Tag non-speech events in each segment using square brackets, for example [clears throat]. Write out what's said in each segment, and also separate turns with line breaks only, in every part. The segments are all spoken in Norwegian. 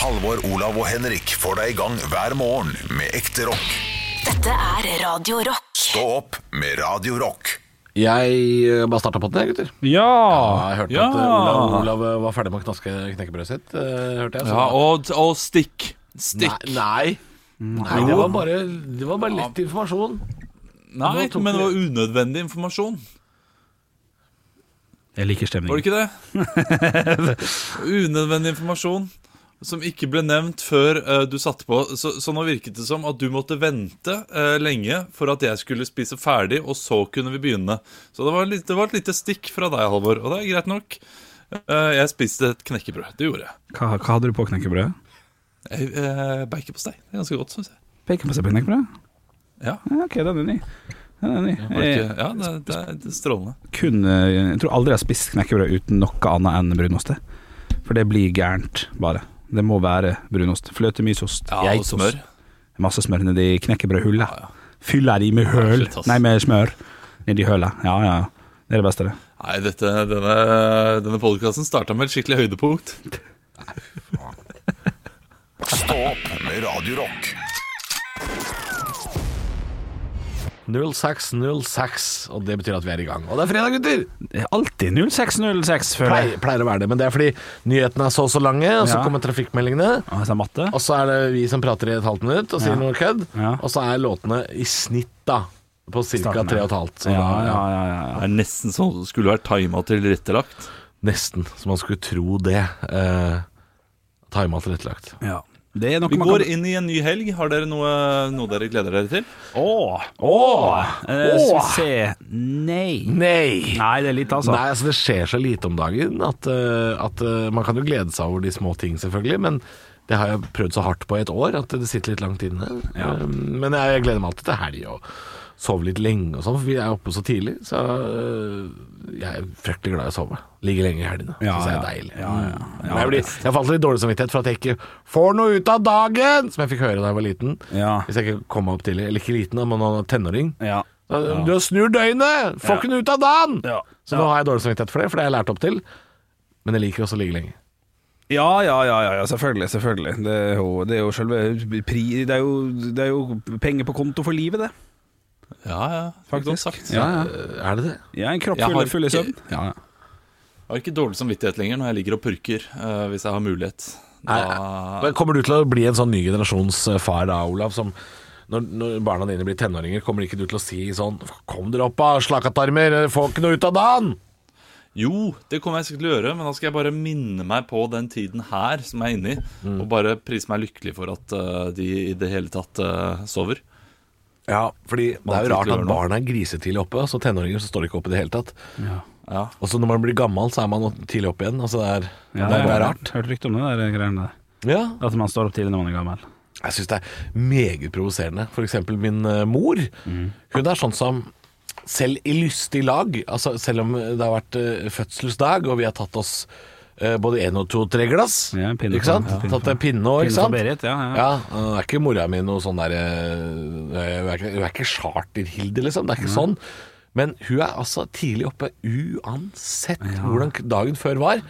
Halvor, Olav og Henrik får deg i gang hver morgen med ekte rock.
Dette er Radio Rock.
Stå opp med Radio Rock.
Jeg eh, bare starta på den, jeg, gutter.
Ja!
Jeg hørte
ja.
at eh, Olav, Olav eh, var ferdig med å knaske knekkebrødet sitt. eh, Hørte jeg. så-
ja og, og stikk.
nei,
Stikk.
nei.
Mm.
Nei, det var bare, det var bare lett informasjon.
Nei,
nå tok
men
vi-
det var unødvendig informasjon.
Jeg liker
Var det
stemningen.
ikke det?
[laughs]
unødvendig informasjon som ikke ble nevnt før eh, du satte på. Så, så nå virket det som at du måtte vente eh, lenge for at jeg skulle spise ferdig, og så kunne vi begynne. Så det var, litt, det var et lite stikk fra deg, Halvor, og det er greit nok. Eh, jeg spiste et knekkebrød. Det gjorde jeg.
Hva, hva hadde du på knekkebrødet?
jeg uh, Baconpostei. Det er ganske godt, syns jeg.
Baconpastei på knekkebrødet?
Ja,
Ja, ok, den er ny. Den er ny.
var det,
Jeg,
Eh,
ikke? ja det, det er- det er strålende.
kunne, jeg tror aldri jeg har spist knekkebrød uten noe annet enn brunost. jeg. For det blir gærent, bare. Det må være brunost. Fløtemysost,
Ja, og
geitost.
smør.
Masse smør nedi knekkebrødhullet. Fyller de med høl
Shit, ass.
Nei, med smør nedi hølet. Ja, ja. ja. Det er det beste, det.
Nei, dette, denne, denne podkasten starta med et skikkelig høydepunkt.
Stå opp med Radio Rock.
0606, og det betyr at vi er i gang. Og det er fredag, gutter!
Det er alltid 0606, føler
Pleier,
jeg.
pleier å være det, men det er fordi nyhetene er så og så lange, og så
Ja.
kommer trafikkmeldingene.
Ah, så er det matte.
Og så er det vi som prater i et halvt minutt og sier
Ja.
noe kødd.
Ja.
Og så er låtene i snitt da på ca.
Starten,
tre
ja.
og et halvt. Så
Ja,
da-
ja, ja. ja, ja.
Det er nesten sånn det skulle vært tima tilrettelagt.
Nesten så man skulle tro det. Eh, Tima tilrettelagt.
ja. Det er noe
Vi
man
går
kan...
inn i en ny helg. Har dere noe, noe dere gleder dere til?
Åh, åh, eh, skal vi
Åh.
se Nei.
Nei!
Nei, det er litt, altså.
Nei, altså Det skjer så lite om dagen at, eh, at eh, man kan jo glede seg over de små ting, selvfølgelig. Men det har jeg prøvd så hardt på i et år at det sitter litt langt inne.
Ja.
Eh, men jeg, jeg gleder meg alltid til helg og sove litt lenge og sånn, for vi er oppe så tidlig. Så eh, jeg er fryktelig glad i å sove. Ligger lenge i helgene.
Ja,
Syns jeg er
ja.
deilig.
Ja, ja, ja.
Men jeg, blir, jeg får alltid litt dårlig samvittighet for at jeg ikke får noe ut av dagen, som jeg fikk høre da jeg var liten.
Ja.
Hvis jeg ikke kom meg opp tidlig. Eller ikke liten, da, men nå er jeg tenåring.
Ja.
Da- Du snur døgnet! Får ikke noe ut av dagen!
Ja.
Så nå har jeg dårlig samvittighet for det, for det har jeg lært opp til. Men jeg liker også å ligge lenge.
Ja, ja, ja, ja, ja selvfølgelig. selvfølgelig. Det er jo, det er jo selve pri... Det er jo, det er jo penger på konto for livet, det.
Ja, ja. Godt sagt.
Eh, Er det det?
Ja, en kropp
Jeg har
full, full i
ikke-
søvn. Ja, ja.
Jeg har ikke dårlig samvittighet lenger når jeg ligger og purker, eh, hvis jeg har mulighet. Da,
Men kommer du til å bli en sånn ny generasjons eh, far da, Olav? Som når, når barna dine blir tenåringer, kommer ikke du til å si sånn Kom dere opp av slakkatarmer, dere får ikke noe ut av dagen!
jo, det kommer jeg sikkert til å gjøre, men da skal jeg bare minne meg på den tiden her som jeg er inne i, og bare prise meg lykkelig for at eh, de i det hele tatt eh, sover.
Ja, fordi det er
Man
jo rart
tror ikke
at
det gjør
barna er grisetidlig oppe, så tenåringer så står de ikke oppe i det hele tatt.
Ja.
Og så når man blir gammel, så er man tidlig oppe igjen. Altså det er,
Ja,
det er, det
jeg
er
har
rart.
Hørt rykte om det der greiene der.
Ja,
At man står opp tidlig når man er gammel.
Jeg syns det er meget provoserende. For eksempel min eh, mor. Hun er sånn som selv i lystig lag, altså selv om det har vært eh, fødselsdag og vi har tatt oss eh, både én og to-tre glass
Ja, en pinne
Ikke sant?
for- ja, pinne
Tatt en pinne òg, ikke
Pinne for
sant?
Berit, ja, ja.
ja. Nå er ikke mora mi noe sånn der eh, Hun er ikke, hun er ikke charterhilde, liksom. Det er ikke sånn. Men hun er altså tidlig oppe uansett hvordan dagen før var.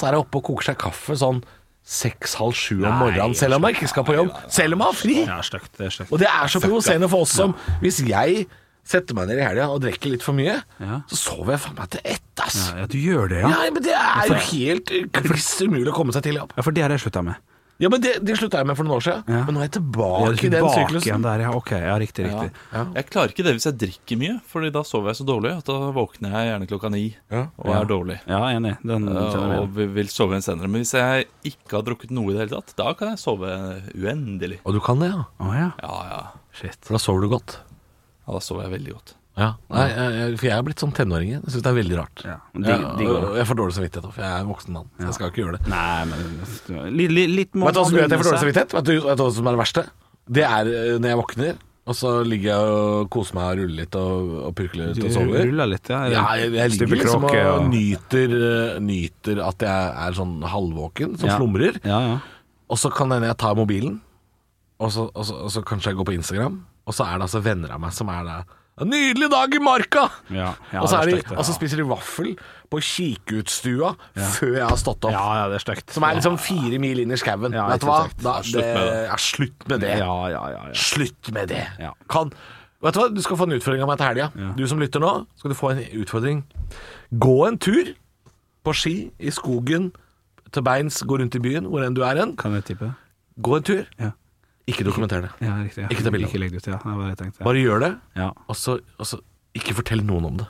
Så er hun oppe og koker seg kaffe sånn seks-halv sju om
Nei,
morgenen, selv om hun ikke skal på jobb. Selv om hun har fri!
Ja, stygt. Det er stygt.
Og det er så provoserende for oss som Hvis jeg setter meg ned i helga og drikker litt for mye,
Ja.
så sover jeg faen meg til ett, ass.
Ja, du gjør det,
Ja, men Det er jo helt kliss umulig å komme seg til jobb.
Ja, for det har jeg slutta med.
Ja, men Det, det slutta jeg med for noen år siden,
Ja.
men nå er jeg
Ja,
tilbake i den
tilbake igjen
syklusen.
der, ja. Ok, ja, riktig,
Ja.
riktig.
Jeg klarer ikke det hvis jeg drikker mye, Fordi da sover jeg så dårlig at da våkner jeg gjerne klokka ni
Ja.
og er dårlig.
Ja, enig. Den kjenner jeg
Og
igjen.
vi vil sove igjen senere. Men hvis jeg ikke har drukket noe i det hele tatt, da kan jeg sove uendelig.
Og du kan det, ja.
Å ja.
Ja, ja.
For da sover du godt.
ja da sover jeg veldig godt.
Ja. Nei, jeg, jeg, for jeg er blitt sånn tenåring igjen. Jeg syns det er veldig rart.
ja.
Ja,
Digg- digg
og
også.
jeg får dårlig samvittighet, da, for jeg er en voksen mann. Jeg skal ikke gjøre det.
Nei, men litt, litt, litt må
Vet du hva som gjør at jeg får dårlig
man unne seg.
samvittighet? Vet du, vet du hva som er det verste? Det er eh, når jeg våkner, og så ligger jeg og koser meg og ruller litt og, og purker litt og
Du
sover.
ruller litt, ja.
Ja, jeg, jeg ligger liksom og
Stupekråke og-
nyter, eh, nyter at jeg er sånn halvvåken, som
Ja.
slumrer.
Ja, ja.
Og så kan det hende jeg tar mobilen, og så, og, så, og så kanskje jeg går på Instagram, og så er det altså venner av meg som er der. En nydelig dag i marka!
Ja, ja,
og så, er altså
det
de,
er stygt, det.
og så spiser de vaffel på kikeutstua før jeg har stått opp.
Ja, ja, det er stygt.
Som er liksom fire mil inn i skauen.
Ja,
vet du
ikke
hva?
sant.
Da,
Ja,
det,
slutt med det.
ja, slutt med det.
Ja, ja, ja. ja.
Slutt med det.
Ja.
Kan, vet du hva? Du skal få en utfordring av meg til helga. Du som lytter nå, skal du få en utfordring. Gå en tur på ski i skogen til beins, gå rundt i byen, hvor enn du er hen.
Kan jeg tippe?
Gå en tur.
Ja.
Ikke dokumenter det.
Ja, riktig. Ja.
Ikke ta bilder.
Ikke legg det ut, ja. Det var det jeg tenkte.
Bare gjør det,
Ja.
og så, og så ikke fortell noen om det.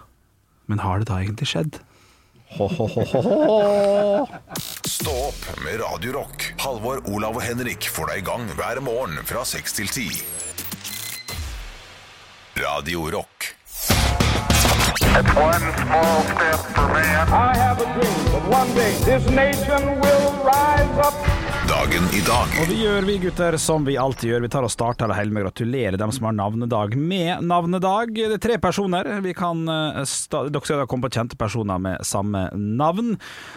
Men har det da egentlig skjedd?
Stå opp med Radio Rock. Halvor, Olav og Henrik får deg i gang hver morgen fra 6 til 10. Radio Rock.
One small step for man.
I have a dream that one day this nation will rise up.
Dagen i dag.
Og det gjør vi, gutter, som vi alltid gjør. Vi tar og starter det hele med å gratulere dem som har navnedag med navnedag. Det er tre personer. Vi kan, eh, sta Dere skal da komme på kjente personer med samme navn.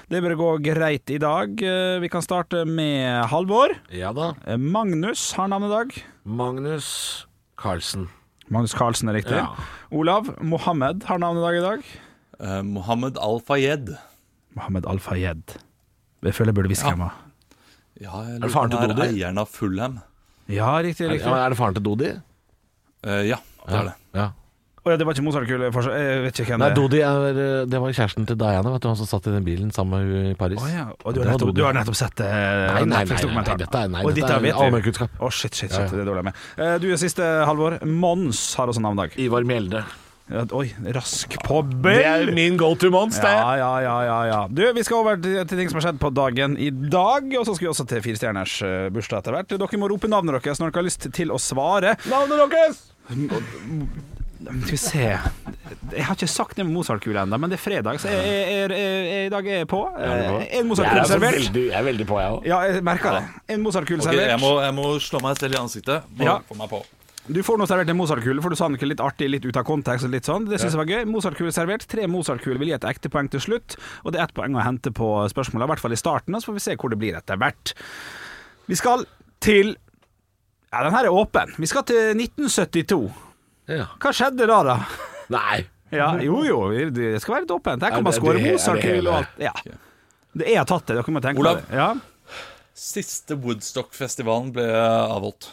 Det bør gå greit i dag. Eh, Vi kan starte med Halvor.
Ja da.
Eh, Magnus har navnedag.
Magnus Carlsen.
Magnus Carlsen er riktig.
Ja.
Olav Mohammed har navnedag i dag.
Eh, Mohammed Al-Fayed.
Mohammed Al-Fayed. Jeg føler jeg burde hviske
Ja.
ja. meg.
Ja, jeg
det
lurer
faren
på
til
om det er
Dodi?
eieren av Fulham.
Ja, riktig.
Er,
riktig.
ja, er det faren til Dodi?
Eh, ja, det er det.
Ja.
Å ja, det var ikke Mozart-kule forskjell. Jeg vet ikke hvem
Nei,
det er.
Dodi er, eh, det var kjæresten til Diana, vet du, han som satt i den bilen sammen med hun i Paris.
Å ja. Og du
Det
har
var
nettopp,
Dodi.
du har nettopp sett uh,
nei, nei, nei, dette er- nei, dette er allmennkunnskap.
Å, shit, shit, shit.
Ja, ja.
Det er dårlig med. Eh, du er siste halvår. Mons har også navnedag.
Ivar Mjelde.
Ja, Oi, rask på
Det er
bell!
min go to mons, det.
Ja, ja, ja, ja, ja. Du, vi skal over til til ting som har skjedd på dagen i dag. Og så skal vi også til firestjerners eh, bursdag etter hvert. Dere må rope navnet deres når dere har lyst til å svare.
Navnet deres!
Skal vi se Jeg har ikke sagt det med Mozart-kule ennå, men det er fredag, så jeg, jeg, jeg, jeg, jeg, i dag er jeg på. Eh, En Mozart-kule servert.
jeg er altså veldig på, jeg òg.
Ja, jeg merker det. En Mozart-kule
Ok,
servert.
jeg, må, jeg må slå meg selv i ansiktet. Må
Ja.
få meg på.
Du får nå servert en Mozart-kule, for du sa noe litt artig, litt ut av kontekst. og litt sånn Det syns jeg var gøy. Mozart-kule servert. Tre Mozart-kuler vil gi et ekte poeng til slutt. Og det er ett poeng å hente på spørsmålet, i hvert fall i starten, og så får vi se hvor det blir etter hvert. Vi skal til Ja, den her er åpen. Vi skal til 1972.
Ja.
Hva skjedde da, da?
Nei.
Ja, jo jo, det skal være litt åpent. Her
Er
kan man
det-
score
det- er det
Mozart-kule og
hele?
alt. Ja. Det jeg har tatt det, dere må tenke
Olav.
på det. Ja.
Siste Woodstock-festivalen ble avholdt.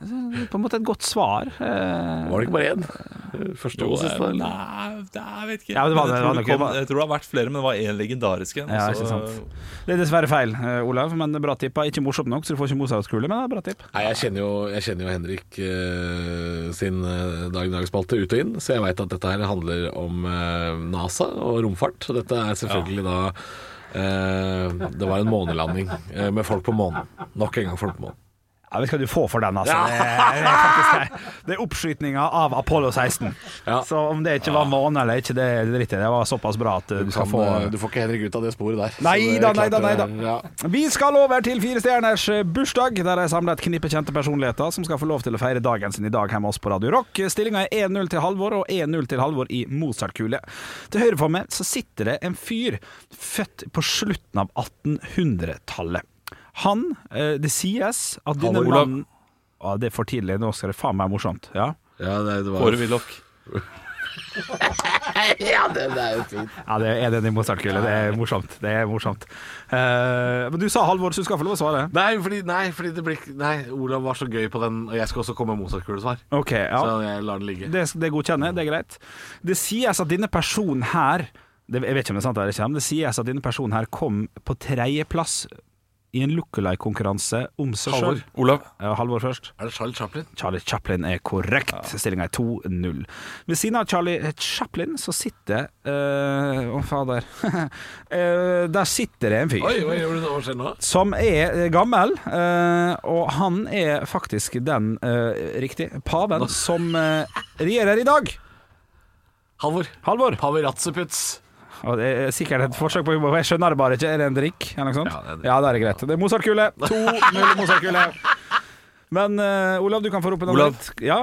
Det er På en måte et godt svar. Eh,
Var det ikke bare én? Første og siste?
Nei, det er- jeg vet ikke.
Ja, det
Men jeg,
var det, det var
tror
nok-
kom, jeg tror det har vært flere, men det var én legendarisk en. Altså,
Ja,
så-
ikke sant. eh, Det er dessverre feil, eh, Olav, men det er bra tippa. Ikke morsomt nok, så du får ikke Mozart-kule, men det er bra tipp.
Nei, jeg kjenner jo, jeg kjenner jo Henrik eh, sin eh, Dag i dag-spalte ut og inn, så jeg veit at dette her handler om eh, NASA og romfart. Og dette er selvfølgelig da eh, Det var en månelanding eh, med folk på månen. Nok en gang folk på månen.
Jeg vet hva du får for den, altså. Det, er, det, er faktisk, det er oppskytinga av Apollo 16.
Ja.
Så om det ikke var måne eller ikke, det driter jeg i. Det var såpass bra at eh, du skal få
du får ikke Henrik ut av det sporet der.
Nei
Så det
da,
er
nei da,
klart
nei
det
da.
er- Ja.
Vi skal over til Fire stjerners eh, bursdag, der jeg samler et knippe kjente personligheter som skal få lov til å feire dagen sin i dag hjemme hos oss på Radio Rock. Stillinga er 1-0 til Halvor og 1-0 til Halvor i Mozart-kule. Til høyre for meg så sitter det en fyr født på slutten av 1800-tallet. Han eh, Det sies at denne
Halvor.
mannen Å, Det er for tidlig, nå skal det faen meg morsomt. Ja,
Ja, det, det var
Kåre Willoch.
ja det er den i Mozart-kule. Det er morsomt. Det er morsomt. Eh, men du sa Halvor, så du skal få lov å svare.
Nei, fordi, nei, fordi det blir ikke- Nei, Olav var så gøy på den, og jeg skal også komme med Mozart-kulesvar.
Ok, ja
Så jeg lar den ligge.
Det, det godkjenner jeg, det er greit. Det sies at denne personen her det, Jeg vet ikke om det er sant eller ikke, men det sies at denne personen her kom på tredjeplass i en lookalike-konkurranse om seg sjøl.
Halvor.
Olav.
Ja, Halvor først.
Er det Charlie Chaplin?
Charlie Chaplin er korrekt. Stillinga er 2-0. Ved siden av Charlie Chaplin så sitter eh, Å, fader. [laughs] Eh, der sitter det en fyr
Oi, oi, gjorde du noe selv nå?
som er eh, gammel, eh, og han er faktisk den eh, riktig paven som eh, regjerer i dag.
Halvor.
Halvor.
Pavi Ratseputz.
Og det er sikkert et forsøk på humor. Jeg skjønner det bare ikke. Er det en drikk? Eller noe sånt? Ja, det er, det er greit. Det er Mozart-kule. 2-0 Mozart-kule. Men eh, Olav, du kan få rope navnet
Olav.
ditt. Ja?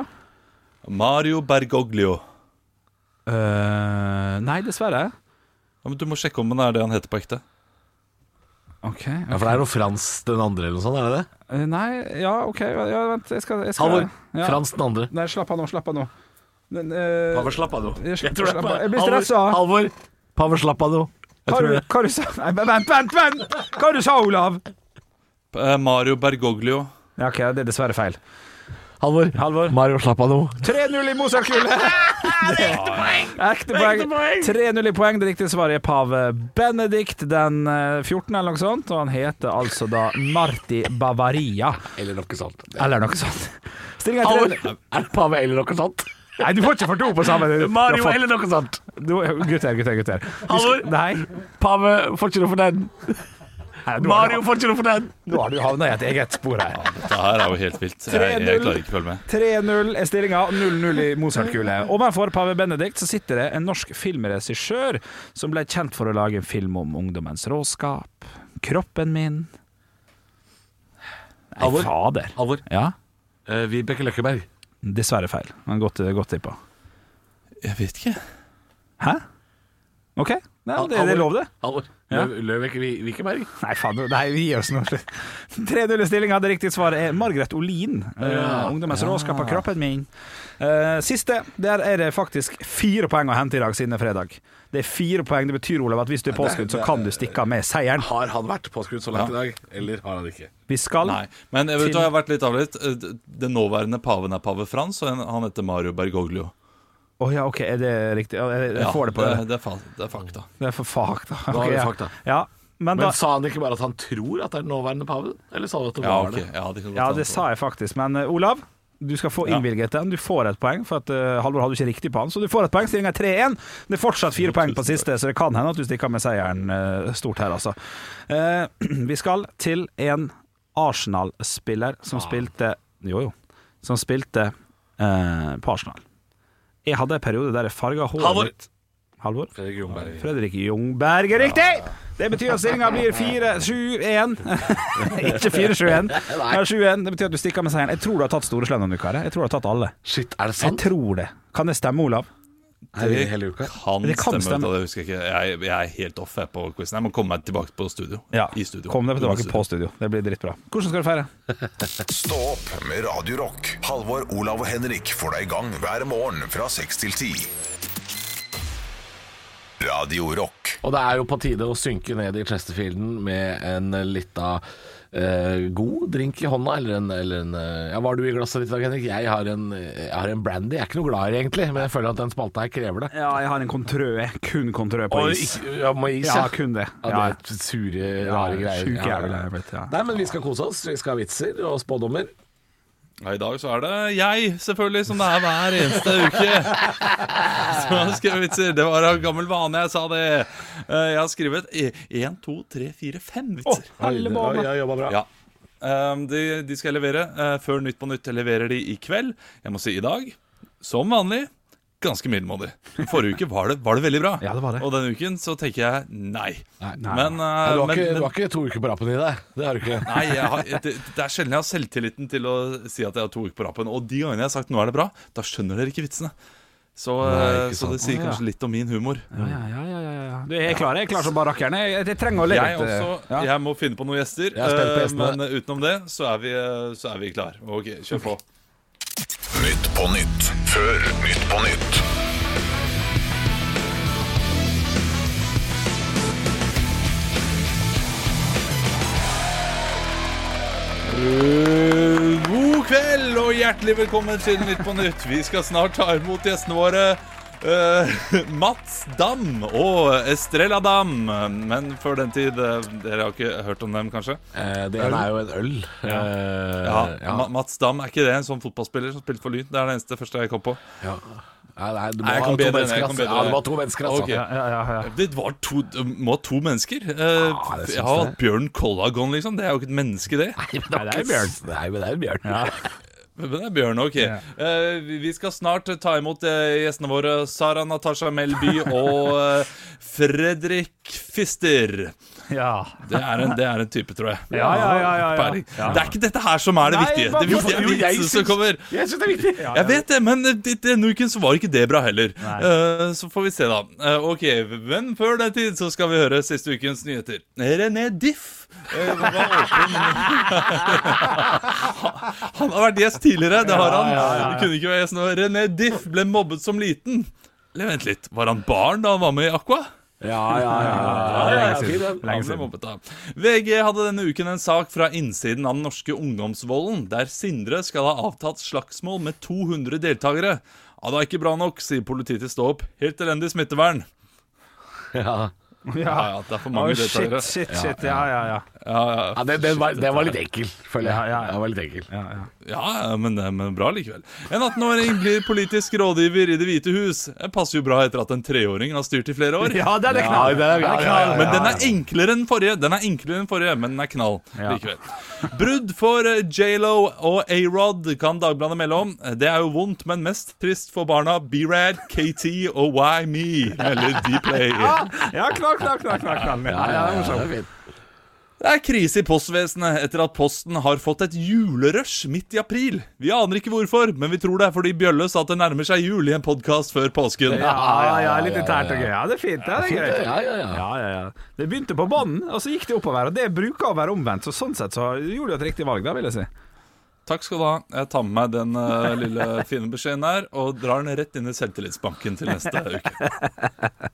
Mario Bergoglio.
Eh, nei, dessverre.
Ja, men du må sjekke om han er det han heter på ekte.
OK.
Ja, for det er noe Frans den andre eller noe sånt, er det det?
Eh, nei, ja, OK. Ja, vent, jeg skal, jeg skal
Halvor.
ja.
Frans den andre.
Nei, slapp av nå. Slapp av nå. Men, eh,
Paver, slapp av nå.
Jeg skal-
Jeg tror det er
slapp av.
bare-
Jeg blir
Halvor-
stressa.
Halvor, Paver, slapp av nå. Jeg
hva,
tror
du,
det.
hva du sa Nei, men Vent, vent, vent! Hva du sa Olav?
Eh, Mario Bergoglio.
Ja, ok, Det er dessverre feil.
Halvor,
Halvor.
Mario, slapp av nå.
3-0
[laughs]
i Mozart-kule! Ekte poeng.
Ekte poeng.
3-0 i poeng. Det riktige svaret er pave Benedikt den eh, 14., eller noe sånt. Og han heter altså da Marti Bavaria,
Eller noe sånt.
eller noe sånt. Stillinga
Halvor,
er 3
er det pave eller noe sånt?
Nei, du får ikke for to på sammen. Du, du
[laughs] Mario
har fått-
eller noe sånt?
du, Gutter, gutter, gutter. Husk-
Halvor.
Nei.
Pave får ikke noe for den.
Nei, nå har du-
Mario får ikke noe for den.
Nå har du havna i et eget spor her.
Det her er jo helt vilt. Jeg, jeg
3-0.
klarer ikke å følge med.
3-0 er stillinga, 0-0 i
[laughs]
Mozart-kule. Ovenfor pave Benedikt så sitter det en norsk filmregissør som ble kjent for å lage en film om ungdommens råskap, kroppen min Nei,
Halvor?
fader.
Halvor,
Ja,
eh, Vibeke Løkkeberg.
dessverre feil. Men godt, godt tippa.
Jeg vet ikke.
Hæ? OK, Nei, det, det er lov, det.
Halvor,
Ja.
Lø- Løvik Vi- Vikeberg.
Nei, faen, nei, vi gir oss nå. 3-0 i stillinga. Det riktige svaret er Margaret Olin. Eh, ungdommens råskap av kroppen min. Eh, siste. Der er det faktisk fire poeng å hente i dag, siden det er fredag. Det er fire poeng. Det betyr Olav, at hvis du er påskudd, så kan du stikke av med seieren.
Har han vært påskrudd så langt i dag, eller har han ikke?
Vi skal
Nei. Men jeg vet du, hva, jeg har vært litt avlitt. Eh, Den nåværende paven er pave Frans, og en- han heter Mario Bergoglio.
Å ja, OK, er det riktig? Ja, Jeg, jeg
Ja,
får det på
det, er fa det er fakta.
Det er for fuck, da.
har
Ok,
vi
ja.
fakta.
Ja, men da
Men sa han ikke bare at han tror at det er den nåværende paven? Eller sa han at det
Ja,
var
ok.
det?
Ja, det kan godt
Ja,
hende.
det sa jeg faktisk. Men eh, Olav, du skal få
Ja.
innvilget den. Du får et poeng, for at eh, Halvor hadde ikke riktig på han. Så du får et poeng. Stillinga er 3-1. Det er fortsatt fire poeng på siste, så det kan hende at du stikker med seieren eh, stort her, altså. Eh, [clears throat] vi skal til en Arsenal-spiller
Ah.
som spilte Jo, jo. Som spilte eh, på Arsenal. Jeg hadde en periode der jeg farga håret
Halvor.
mitt- Halvor?
Fredrik Jungberg.
Fredrik Jungberg er riktig! Det betyr at stillinga blir [laughs] 4-7-1. Ikke 4-7-1, men 7-1. Det betyr at du stikker med seieren. Jeg tror du har tatt Store Slem denne uka. her. Jeg tror du har tatt alle.
Shit, er det
Jeg
sant?
tror det. Kan det stemme, Olav?
Hele, hele uka?
Kan
Det kan
stemme,
stemme.
Vet du, det husker jeg ikke. Jeg, jeg er helt off jeg, på quizen. Jeg må komme meg tilbake på studio. I studio.
Kom deg tilbake
Studio.
på studio. Det blir drittbra. Hvordan skal du feire?
Stå opp med Radio Rock. Halvor, Olav og Henrik får deg i gang hver morgen fra 6 til 10. Radio Rock.
Og det er jo på tide å synke ned i Chesterfielden med en lita eh, god drink i hånda, eller en, eller en eh, Ja, hva har du i glasset ditt i dag, Henrik? Jeg har, en, jeg har en brandy. Jeg er ikke noe glad i det, egentlig, men jeg føler at den spalta her krever det.
Ja, jeg har en kontrø. Kun kontrø på
Og
is.
ikke- ja, må is,
Ja, kun det.
Ja,
Ja.
det er sure, rare greier.
sjuk jævel er jeg blitt, ja.
Nei, men vi skal kose oss. Vi skal ha vitser og spådommer.
Ja, I dag så er det jeg, selvfølgelig, som det er hver eneste uke. Som har skrevet vitser. Det var av gammel vane jeg sa det. Eh, Jeg har skrevet e- én, to, tre, fire, fem vitser.
Alle
Ja,
barna.
ja, jobba bra.
Ja. Ehm, de, de skal jeg levere. eh, før Nytt på Nytt jeg leverer de i kveld. Jeg må si i dag, som vanlig, ganske middelmådig. Forrige uke var det, var det veldig bra.
Ja, det var det.
Og denne uken så tenker jeg nei.
nei.
Men, eh,
Nei, du, har
men-
ikke,
men-
du har ikke to uker på rappen i deg. Det har du ikke.
Nei, jeg har, det, det er sjelden jeg har selvtilliten til å si at jeg har to uker på rappen. Og de gangene jeg har sagt 'nå er det bra', da skjønner dere ikke vitsene. Så,
Nei,
eh,
ikke
så
sant.
det sier
Ah, ja.
kanskje litt om min humor.
Ja, ja, ja, ja, ja. Du, jeg er klar, jeg er klar som bare rakkeren. Jeg, jeg trenger å leve
Jeg, også,
Ja.
jeg må finne på noen gjester,
Jeg er spent på
eh,
gjestene.
men eh, utenom det så er vi, eh, så er vi klar. Ok, kjør
[laughs]
på.
Nytt på nytt før Nytt på nytt.
God kveld og hjertelig velkommen til Nytt på Nytt. Vi skal snart ta imot gjestene våre. eh, [laughs] Mats Dam og Estrella Dam. Men før den tid eh, Dere har ikke hørt om dem, kanskje?
Eh, Det ene er jo en øl. Ja.
Ja,
ja.
Ma- Mats Dam, er ikke det en sånn fotballspiller som spilte for Lyn? Det er det eneste første jeg kom på.
ja. Nei, nei, du må
Nei, jeg
ha
kan
to
bedre enn
mennesker,
jeg kan
altså.
bedre.
Ja, det var to mennesker, altså.
Ok.
Ja, ja, ja, ja.
Det var to, det må ha to mennesker. Eh,
Ja, det syns
jeg har
jeg.
hatt Bjørn Kollagon, liksom. Det er jo ikke et menneske, det.
Nei, men det
Nei, det er jo Bjørn.
Nei, men det er jo Bjørn.
Men det er Bjørn, ok. Eh, vi- vi skal snart ta imot eh, gjestene våre Sara Natasha Melby og eh, Fredrik Fister.
ja.
Det er, en, det er en type, tror jeg.
Ja, ja, ja, ja, ja.
Peiling. Det er ikke dette her som er det
Nei,
viktige.
hva-
Det viktige er
Jo, jeg
vitsen som
syns-
kommer.
Jeg syns det er viktig.
Jeg vet det, men d- denne uken så var ikke det bra heller. Eh, så får vi se, da. Eh, ok, Men før den tid så skal vi høre siste ukens nyheter. René Diff eh, var åpen [laughs] Han har vært gjest tidligere. Det har han. Det kunne ikke være sånn. René Diff ble mobbet som liten. Eller vent litt, var han barn da han var med i Aqua?
Ja, ja, ja.
Lenge siden. VG hadde denne uken en sak fra innsiden av den norske ungdomsvolden, der Sindre skal ha avtatt slagsmål med 200 deltakere. Ja, det er ikke bra nok, sier politiet til Stå opp. Helt elendig smittevern.
[laughs] ja.
Ja, ja, det er for mange
Å, shit,
deltakere.
shit, shit. Ja, ja, ja.
ja den, den, var, den var litt enkel, føler jeg.
Ja, ja, ja.
Den var litt enkel.
ja, ja.
Ja, ja, men, men bra likevel. En 18-åring blir politisk rådgiver i Det hvite hus. Det passer jo bra etter at en treåring har styrt i flere år.
Ja, den er knall.
den er-
Den er knall.
Men den er enklere enn forrige, Den er enklere enn forrige, men den er knall likevel. Brudd for eh, J.Lo og A-Rod kan Dagbladet melde om. Det er jo vondt, men mest trist for barna B-Rad, KT og Why Me, eller D-Play.
[laughs] Ja, knall, knall, knall. knall, knall. Ja, ja, det er morsomt.
fint.
Det er krise i postvesenet etter at Posten har fått et julerush midt i april. Vi aner ikke hvorfor, men vi tror det er fordi Bjølle sa at det nærmer seg jul i en podkast før påsken.
Ja, ja, ja, litt internt og gøy. Ja, det er fint. Ja, det er gøy.
Ja, ja, ja.
Ja, ja, ja. Det begynte på bånn, og så gikk det oppover. Og det bruker å være omvendt, så sånn sett så gjorde du et riktig valg, da, vil jeg si.
Takk skal du ha. Jeg tar med meg den eh, lille fine beskjeden her og drar den rett inn i selvtillitsbanken til neste uke.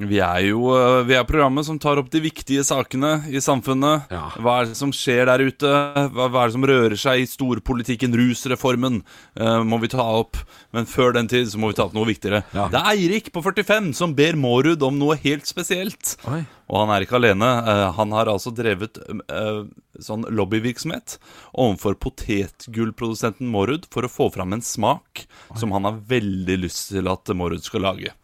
Vi er jo eh, vi er programmet som tar opp de viktige sakene i samfunnet.
Ja.
Hva er det som skjer der ute? Hva, hva er det som rører seg i storpolitikken? Rusreformen eh, må vi ta opp. Men før den tid så må vi ta opp noe viktigere.
Ja.
Det er Eirik på 45 som ber Mårud om noe helt spesielt.
Oi.
Og han er ikke alene. Eh, Han har altså drevet eh, sånn lobbyvirksomhet overfor potetgullprodusenten Mårud for å få fram en smak som han har veldig lyst til at Mårud skal lage.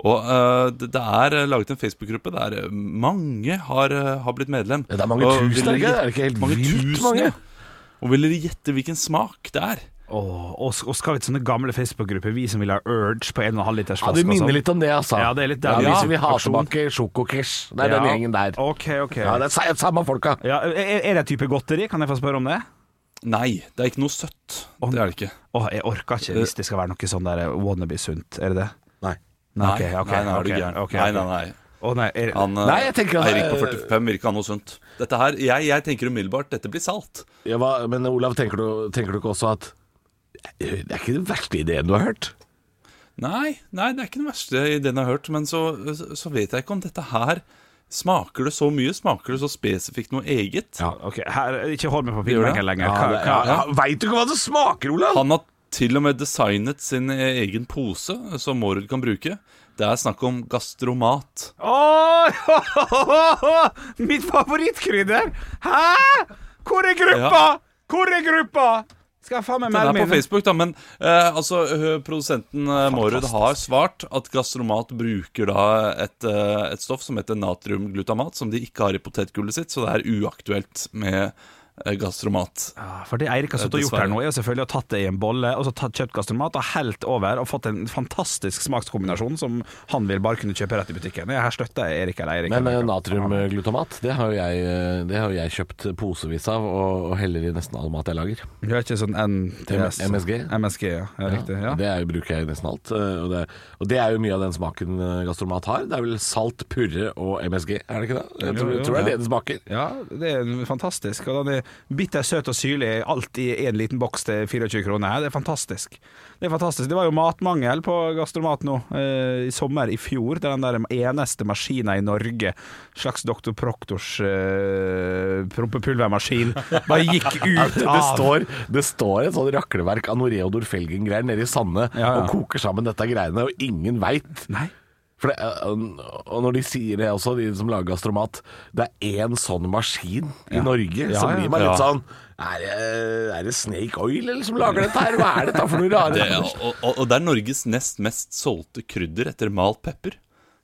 Og eh, det det er laget en Facebook-gruppe der eh, mange har, eh, har blitt medlem.
Ja, det er mange
Og
tusen, er
vil
det ikke?
dere
Er det ikke helt
gjette- mange
vilt
tusen,
mange?
ja. Og vil dere gjette hvilken smak det er?
Åh, og, og skal vi til sånne gamle Facebook-grupper, vi som vil ha Urge på 1,5 liters
Ja,
flaske
Det
og
minner
sånn?
litt om det, altså.
Ja, det er litt der.
Ja,
Ja.
de som vil ha tilbake Sjokokish. Det er den
Ja.
gjengen der.
Ok, ok.
Ja, det er sa- samme folka.
Ja, er, er det type godteri? Kan jeg få spørre om det?
Nei, det er ikke noe søtt. Det er det ikke. Eh.
Åh, jeg orker ikke hvis det skal være noe sånn der wannabe-sunt. Er det det?
Nei.
Nei, ok, ok,
nei, nei, er du
ok,
gæren?
ok,
nei,
ok.
nei, nei.
Å nei, er,
Han, eh,
Nei, jeg tenker at-
Eirik på 45 vil ikke ha noe sunt. Dette her, jeg, jeg tenker umiddelbart dette blir salt.
Ja, hva, men Olav, tenker du, tenker du ikke også at eh, Det er ikke den verste ideen du har hørt?
Nei, nei, det er ikke den verste ideen jeg har hørt, men så, så vet jeg ikke om dette her Smaker det så mye? Smaker det så spesifikt noe eget?
ok, her, ikke hold meg på
Gjør det?
pinnbenken lenger.
Ja,
Hva,
det-
hva,
ja, ja. Veit du ikke hva det smaker, Olav?
Han har til og med designet sin e-, egen pose, som Mårud kan bruke. Det er snakk om gastromat.
Åh, [laughs] Mitt favorittkrydder! Hæ?! Hvor er gruppa?! Hvor er gruppa?! Skal jeg faen meg
Den er
melde
på
meg inn?
Facebook, da, men eh, altså, eh, produsenten eh, Mårud har svart at gastromat bruker da et, eh, et stoff som heter natriumglutamat, som de ikke har i potetgullet sitt, så det er uaktuelt med eh, gastromat.
Ja, Ah, For det Eirik har sittet og gjort her nå, er jo selvfølgelig å tatt det i en bolle, og så tatt, kjøpt gastromat og helt over og fått en fantastisk smakskombinasjon som han vil bare kunne kjøpe rett i butikken. Jeg her støtter jeg Erik eller Eirik.
Men eh,
eller-
natriumglutamat, det har jo jeg, eh, det har jo jeg kjøpt posevis av og, og heller i nesten all mat jeg lager.
Du er ikke sånn NTS?
MSG?
MSG, ja. ja riktig. Ja.
Det er, jo- bruker jeg i nesten alt. eh, Og det, og det er jo mye av den smaken eh, gastromat har. Det er vel salt, purre og MSG, er det ikke det? Jeg tror,
Jo, jo.
tror det er
Ja.
det det smaker.
Ja, det er fantastisk. Og den er bitter søt og syrlig, alt i én liten boks til 24 kroner. Det er fantastisk. Det er fantastisk. Det var jo matmangel på gastromat nå eh, i sommer i fjor. Det er den der eneste maskina i Norge, slags Dr. Proktors eh, prompepulvermaskin, bare
[laughs]
gikk ut
Det
av
står, det står et sånt rakleverk av noe Reodor Felgen-greier nede i Sande
Ja, ja.
og koker sammen dette greiene, og ingen veit.
Nei.
For det, er- og når de sier det også, de som lager gastromat, det er én sånn maskin i Norge,
Ja,
så
ja.
blir man litt
Ja.
sånn er det, er det Snake Oil eller som lager dette her? Hva er dette for noe rare
[laughs] Det, er- og, og, og det er Norges nest mest solgte krydder etter malt pepper.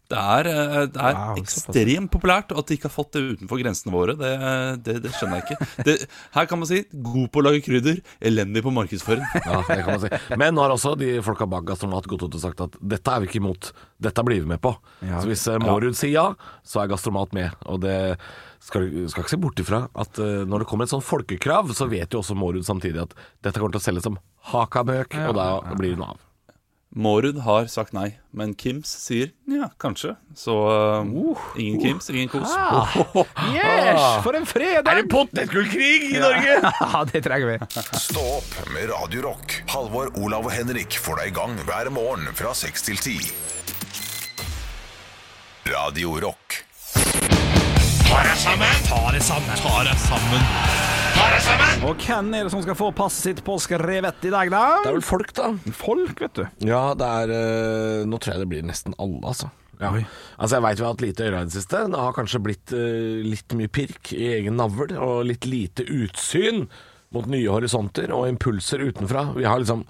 Det er, eh, det er
Wow, såpass.
ekstremt populært, og at de ikke har fått det utenfor grensene våre, det, det, det skjønner jeg ikke. Det, her kan man si god på å lage krydder, elendig på markedsføring.
Ja, det kan man si. Men nå har også de folka bak Gastromat gått ut og sagt at dette er vi ikke imot, dette blir vi med på.
Ja.
Så hvis eh, Mårud sier ja, så er Gastromat med. Og det skal, skal ikke se bort ifra at eh, når det kommer et sånn folkekrav, så vet jo også Mårud samtidig at dette kommer til å selges som hakamøk, og da blir hun av.
Mårud har sagt nei, men Kims sier ja, kanskje. Så eh, ingen Kims, ingen kos.
Yes, for en fredag!
Er det potetgullkrig i Norge?
[laughs] Ja, det trenger vi.
Stå opp med Radio Rock. Halvor, Olav og Henrik får deg i gang hver morgen fra 6 til 10. Radio Rock.
Og hvem er det som skal få passet sitt påskerevett i dag, da?
Det er vel folk, da.
folk, vet du.
Ja, det er eh, Nå tror jeg det blir nesten alle, altså. Ja. Altså Jeg veit vi har hatt lite øyre i det siste. Det har kanskje blitt eh, litt mye pirk i egen navl, og litt lite utsyn mot nye horisonter og impulser utenfra. Vi har liksom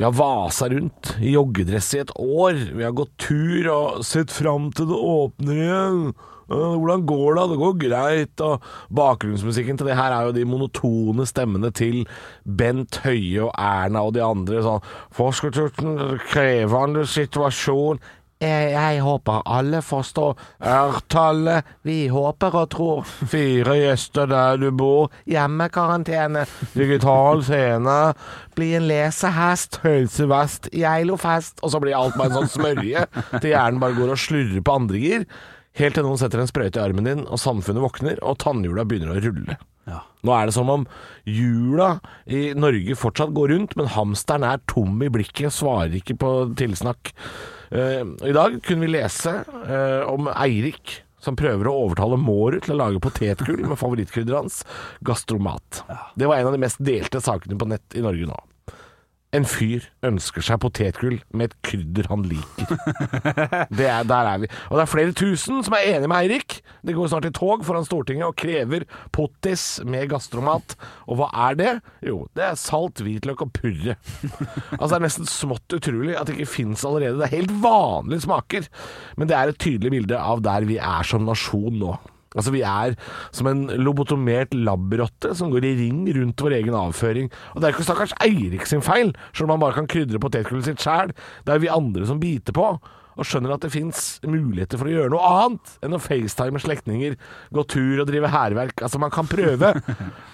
Vi har vasa rundt i joggedress i et år. Vi har gått tur og sett fram til det åpner igjen. Eh, Hvordan går det? Det går greit. Og bakgrunnsmusikken til det her er jo de monotone stemmene til Bent Høie og Erna og de andre. Sånn Forskerturten, krevende situasjon. Jeg, jeg håper alle forstår R-tallet. Vi håper og tror. Fire gjester der du bor. Hjemmekarantene. Digital scene. Bli en lesehest. Høysevest. Geilofest. Og så blir alt bare en sånn smørje til hjernen bare går og slurrer på andre gir. Helt til noen setter en sprøyte i armen din, og samfunnet våkner, og tannhjula begynner å rulle. Nå er det som om hjula i Norge fortsatt går rundt, men hamsteren er tom i blikket og svarer ikke på tilsnakk. Eh, I dag kunne vi lese eh, om Eirik som prøver å overtale Mårud til å lage potetgull med favorittkrydderet hans, gastromat. Det var en av de mest delte sakene på nett i Norge nå. En fyr ønsker seg potetgull med et krydder han liker. Det er, der er vi. Og det er flere tusen som er enige med Eirik. Det går snart i tog foran Stortinget og krever pottis med gastromat. Og hva er det? Jo, det er salt, hvitløk og purre. Altså Det er nesten smått utrolig at det ikke fins allerede. Det er helt vanlige smaker. Men det er et tydelig bilde av der vi er som nasjon nå. Altså Vi er som en lobotomert labrotte som går i ring rundt vår egen avføring. Og Det er ikke stakkars Eirik sin feil, selv om han bare kan krydre potetgullet sitt sjæl. Det er vi andre som biter på, og skjønner at det fins muligheter for å gjøre noe annet enn å facetime slektninger, gå tur og drive hærverk. Altså, man kan prøve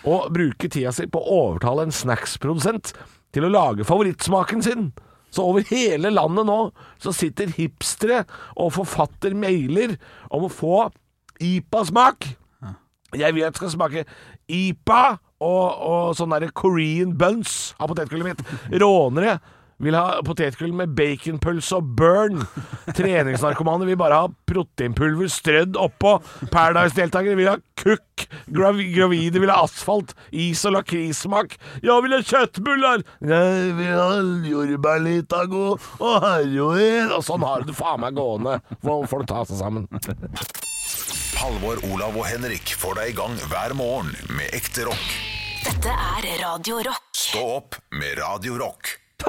å bruke tida si på å overtale en snacksprodusent til å lage favorittsmaken sin. Så over hele landet nå så sitter hipstere og forfatter mailer om å få IPA-smak. Jeg vil at det skal smake IPA og, og sånn derre Korean buns av potetgullet mitt. Rånere vil ha potetgull med baconpølse og burn. Treningsnarkomane vil bare ha proteinpulver strødd oppå. Paradise-deltakere vil ha kukk. Gravi gravide vil ha asfalt. Is og lakrissmak. Jeg vil ha kjøttbuller! Jeg vil ha jordbærlitago og heroin. Og sånn har du det faen meg gående. Får folk ta seg sammen.
Halvor, Olav og Henrik får deg i gang hver morgen med ekte rock.
Dette er Radio Rock.
Stå opp med Radio Rock.
[laughs]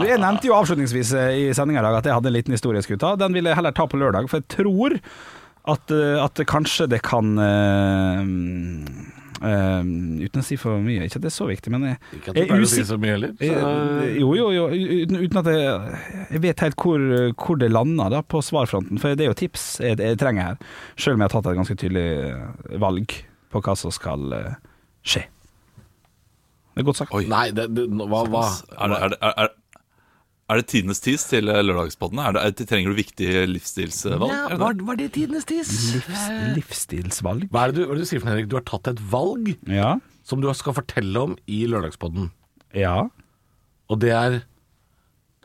Du, Jeg nevnte jo avslutningsvis eh, i sendinga i dag at jeg hadde en liten historie jeg skulle ta. Den vil jeg heller ta på lørdag, for jeg tror at, eh, at kanskje det kan eh, eh, uten å si for mye, ikke at det er så viktig, men jeg,
Ikke at du
jeg er
pleier å si
usik-
så mye heller.
Eh,
Så,
Jo, jo, jo. Uten, uten at jeg, jeg vet helt hvor, hvor det lander da, på svarfronten. For det er jo tips jeg, jeg trenger her. Selv om jeg har tatt et ganske tydelig eh, valg på hva som skal eh, skje. Det er godt sagt.
nei, det, det, nå- hva, hva?
Er det, er, det, er, er, er det tidenes tis til eh, lørdagspodden? Er det, er, trenger du viktige livsstilsvalg? Er det det?
det tidenes tis?
Livs, livsstilsvalg.
Hva er, det du, hva er det du sier for noe, Henrik? Du har tatt et valg
Ja.
som du skal fortelle om i lørdagspodden.
ja.
Og det er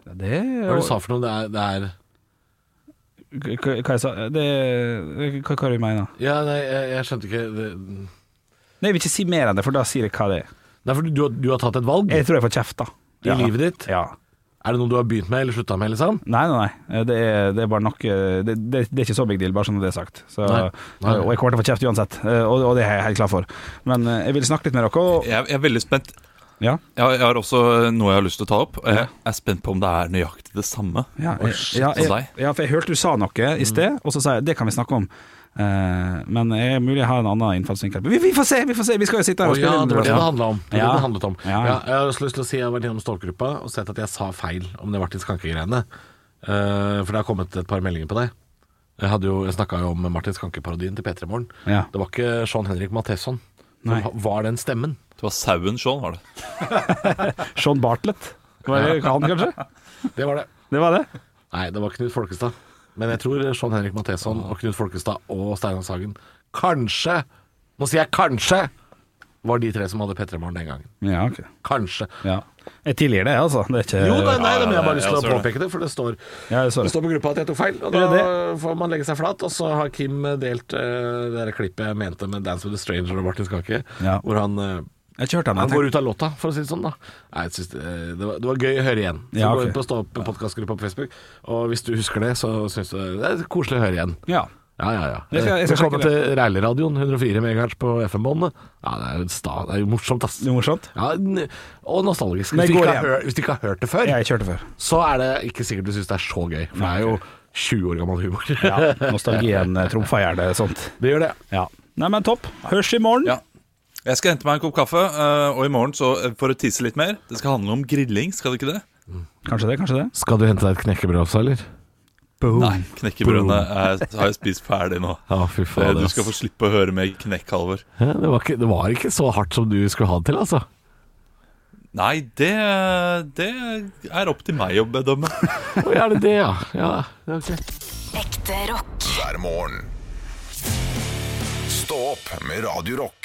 Det
Hva er det du sa for noe? Det er, det er
Hva hva jeg sa det, Hva, hva du mener du?
Ja, nei, jeg, jeg skjønte ikke det,
Nei, jeg vil ikke si mer enn det, for da sier jeg hva det er.
Nei, for du, har- du har tatt et valg
Jeg tror jeg får kjeft, da.
i livet ditt.
Ja.
Er det noe du har begynt med eller slutta med, liksom?
Nei, nei, nei. Det er, det er bare nok eh, det, det, det er ikke så big deal, bare sånn at det er sagt. Så,
Nei. Nei.
Og jeg kommer til å få kjeft uansett, eh, og, og det er jeg helt klar for. Men eh, jeg vil snakke litt med dere. Og,
Jeg, jeg er veldig spent.
ja,
Jeg, har- jeg har også noe jeg har lyst til å ta opp. og Jeg jeg er spent på om det er nøyaktig det samme.
ja,
Oi,
jeg,
shit,
ja,
så
jeg,
deg.
ja, for jeg hørte du sa noe i sted,
Mm.
og så sa jeg det kan vi snakke om. Eh, men det er mulig jeg har en annen innfallsvinkel. Vi, vi får se! Vi får se Vi skal jo sitte her
Å
og spille
ja,
inn
det var det det
Ja.
handla om. Det var
Ja.
det det handlet om. Ja.
Ja.
jeg har også lyst til å si jeg har vært gjennom stalkergruppa og sett at jeg sa feil om det Martin Skanke-greiene. Eh, for det har kommet et par meldinger på det. Jeg, hadde jo- jeg snakka jo om Martin Skanke-parodien til P3 Morgen.
Ja.
Det var ikke Sean Henrik Matheson som
Nei.
var den stemmen.
Det var sauen Sean, var det.
Sean Bartlett. Var det
[laughs]
han, kanskje?
Det var det.
Det var det?
Nei, det var Knut Folkestad. Men jeg tror Sean Henrik Matheson og Knut Folkestad og Steinar Sagen kanskje Nå sier jeg kanskje var de tre som hadde P3 Morgen den gangen.
Ja, ok.
Kanskje.
Ja. Jeg tilgir det, altså. Det er ikke
Jo, nei, nei,
ja,
men jeg har bare
ja,
lyst til å
jeg ser det.
påpeke det, for det står,
Ja, jeg så
det
det.
står på gruppa at jeg tok feil. Og
Gjør
da
det?
får man legge seg flat. Og så har Kim delt eh, det der klippet jeg mente med 'Dance with a Stranger' og Martin Skake,
Ja.
hvor han eh,
Jeg kjørte den.
han
jeg
går ut av låta, for å si det sånn. da Nei, jeg synes det, det, var, det var gøy å høre igjen. Så
Ja, ok.
Gå inn på Stå opp podkastgruppa på Facebook, og hvis du husker det, så syns du det er koselig å høre igjen.
tenkte- Ja.
Ja, ja, ja.
Jeg skal- jeg skal
Velkommen
sjekke
til Reileradioen, 104 MHz på FM-båndet. Ja, det er jo, sta, det er jo morsomt, ass.
Det er morsomt.
Ja, n- og nostalgisk.
Men
Hvis du,
går
ikke har
igjen.
hørt, hvis du ikke har hørt det før,
Jeg kjørte før.
så er det ikke sikkert du syns det er så gøy. For det er jo 20 år gammel humor.
Ja, nostalgien eh, trumfa gjerne sånt.
[laughs] det gjør det.
Ja. Nei, men topp. Hørs i morgen.
Ja. Jeg skal hente meg en kopp kaffe, eh, og i morgen, så eh, for å tisse litt mer Det skal handle om grilling, skal det ikke det?
Kanskje det, kanskje det.
Skal du hente deg et knekkebrød også, eller?
Nei, knekkebrødene er, har jeg spist ferdig nå.
Ja, fy
Eh,
faen.
Du skal få
ass.
slippe å høre meg knekk, Halvor.
Ja, det, var ikke, det var ikke så hardt som du skulle ha det til, altså.
Nei, det, det er opp til meg å bedømme.
Å, er det det, ja? ja det er ok.
Ekte rock.
hver morgen. Stå opp med Radio Rock.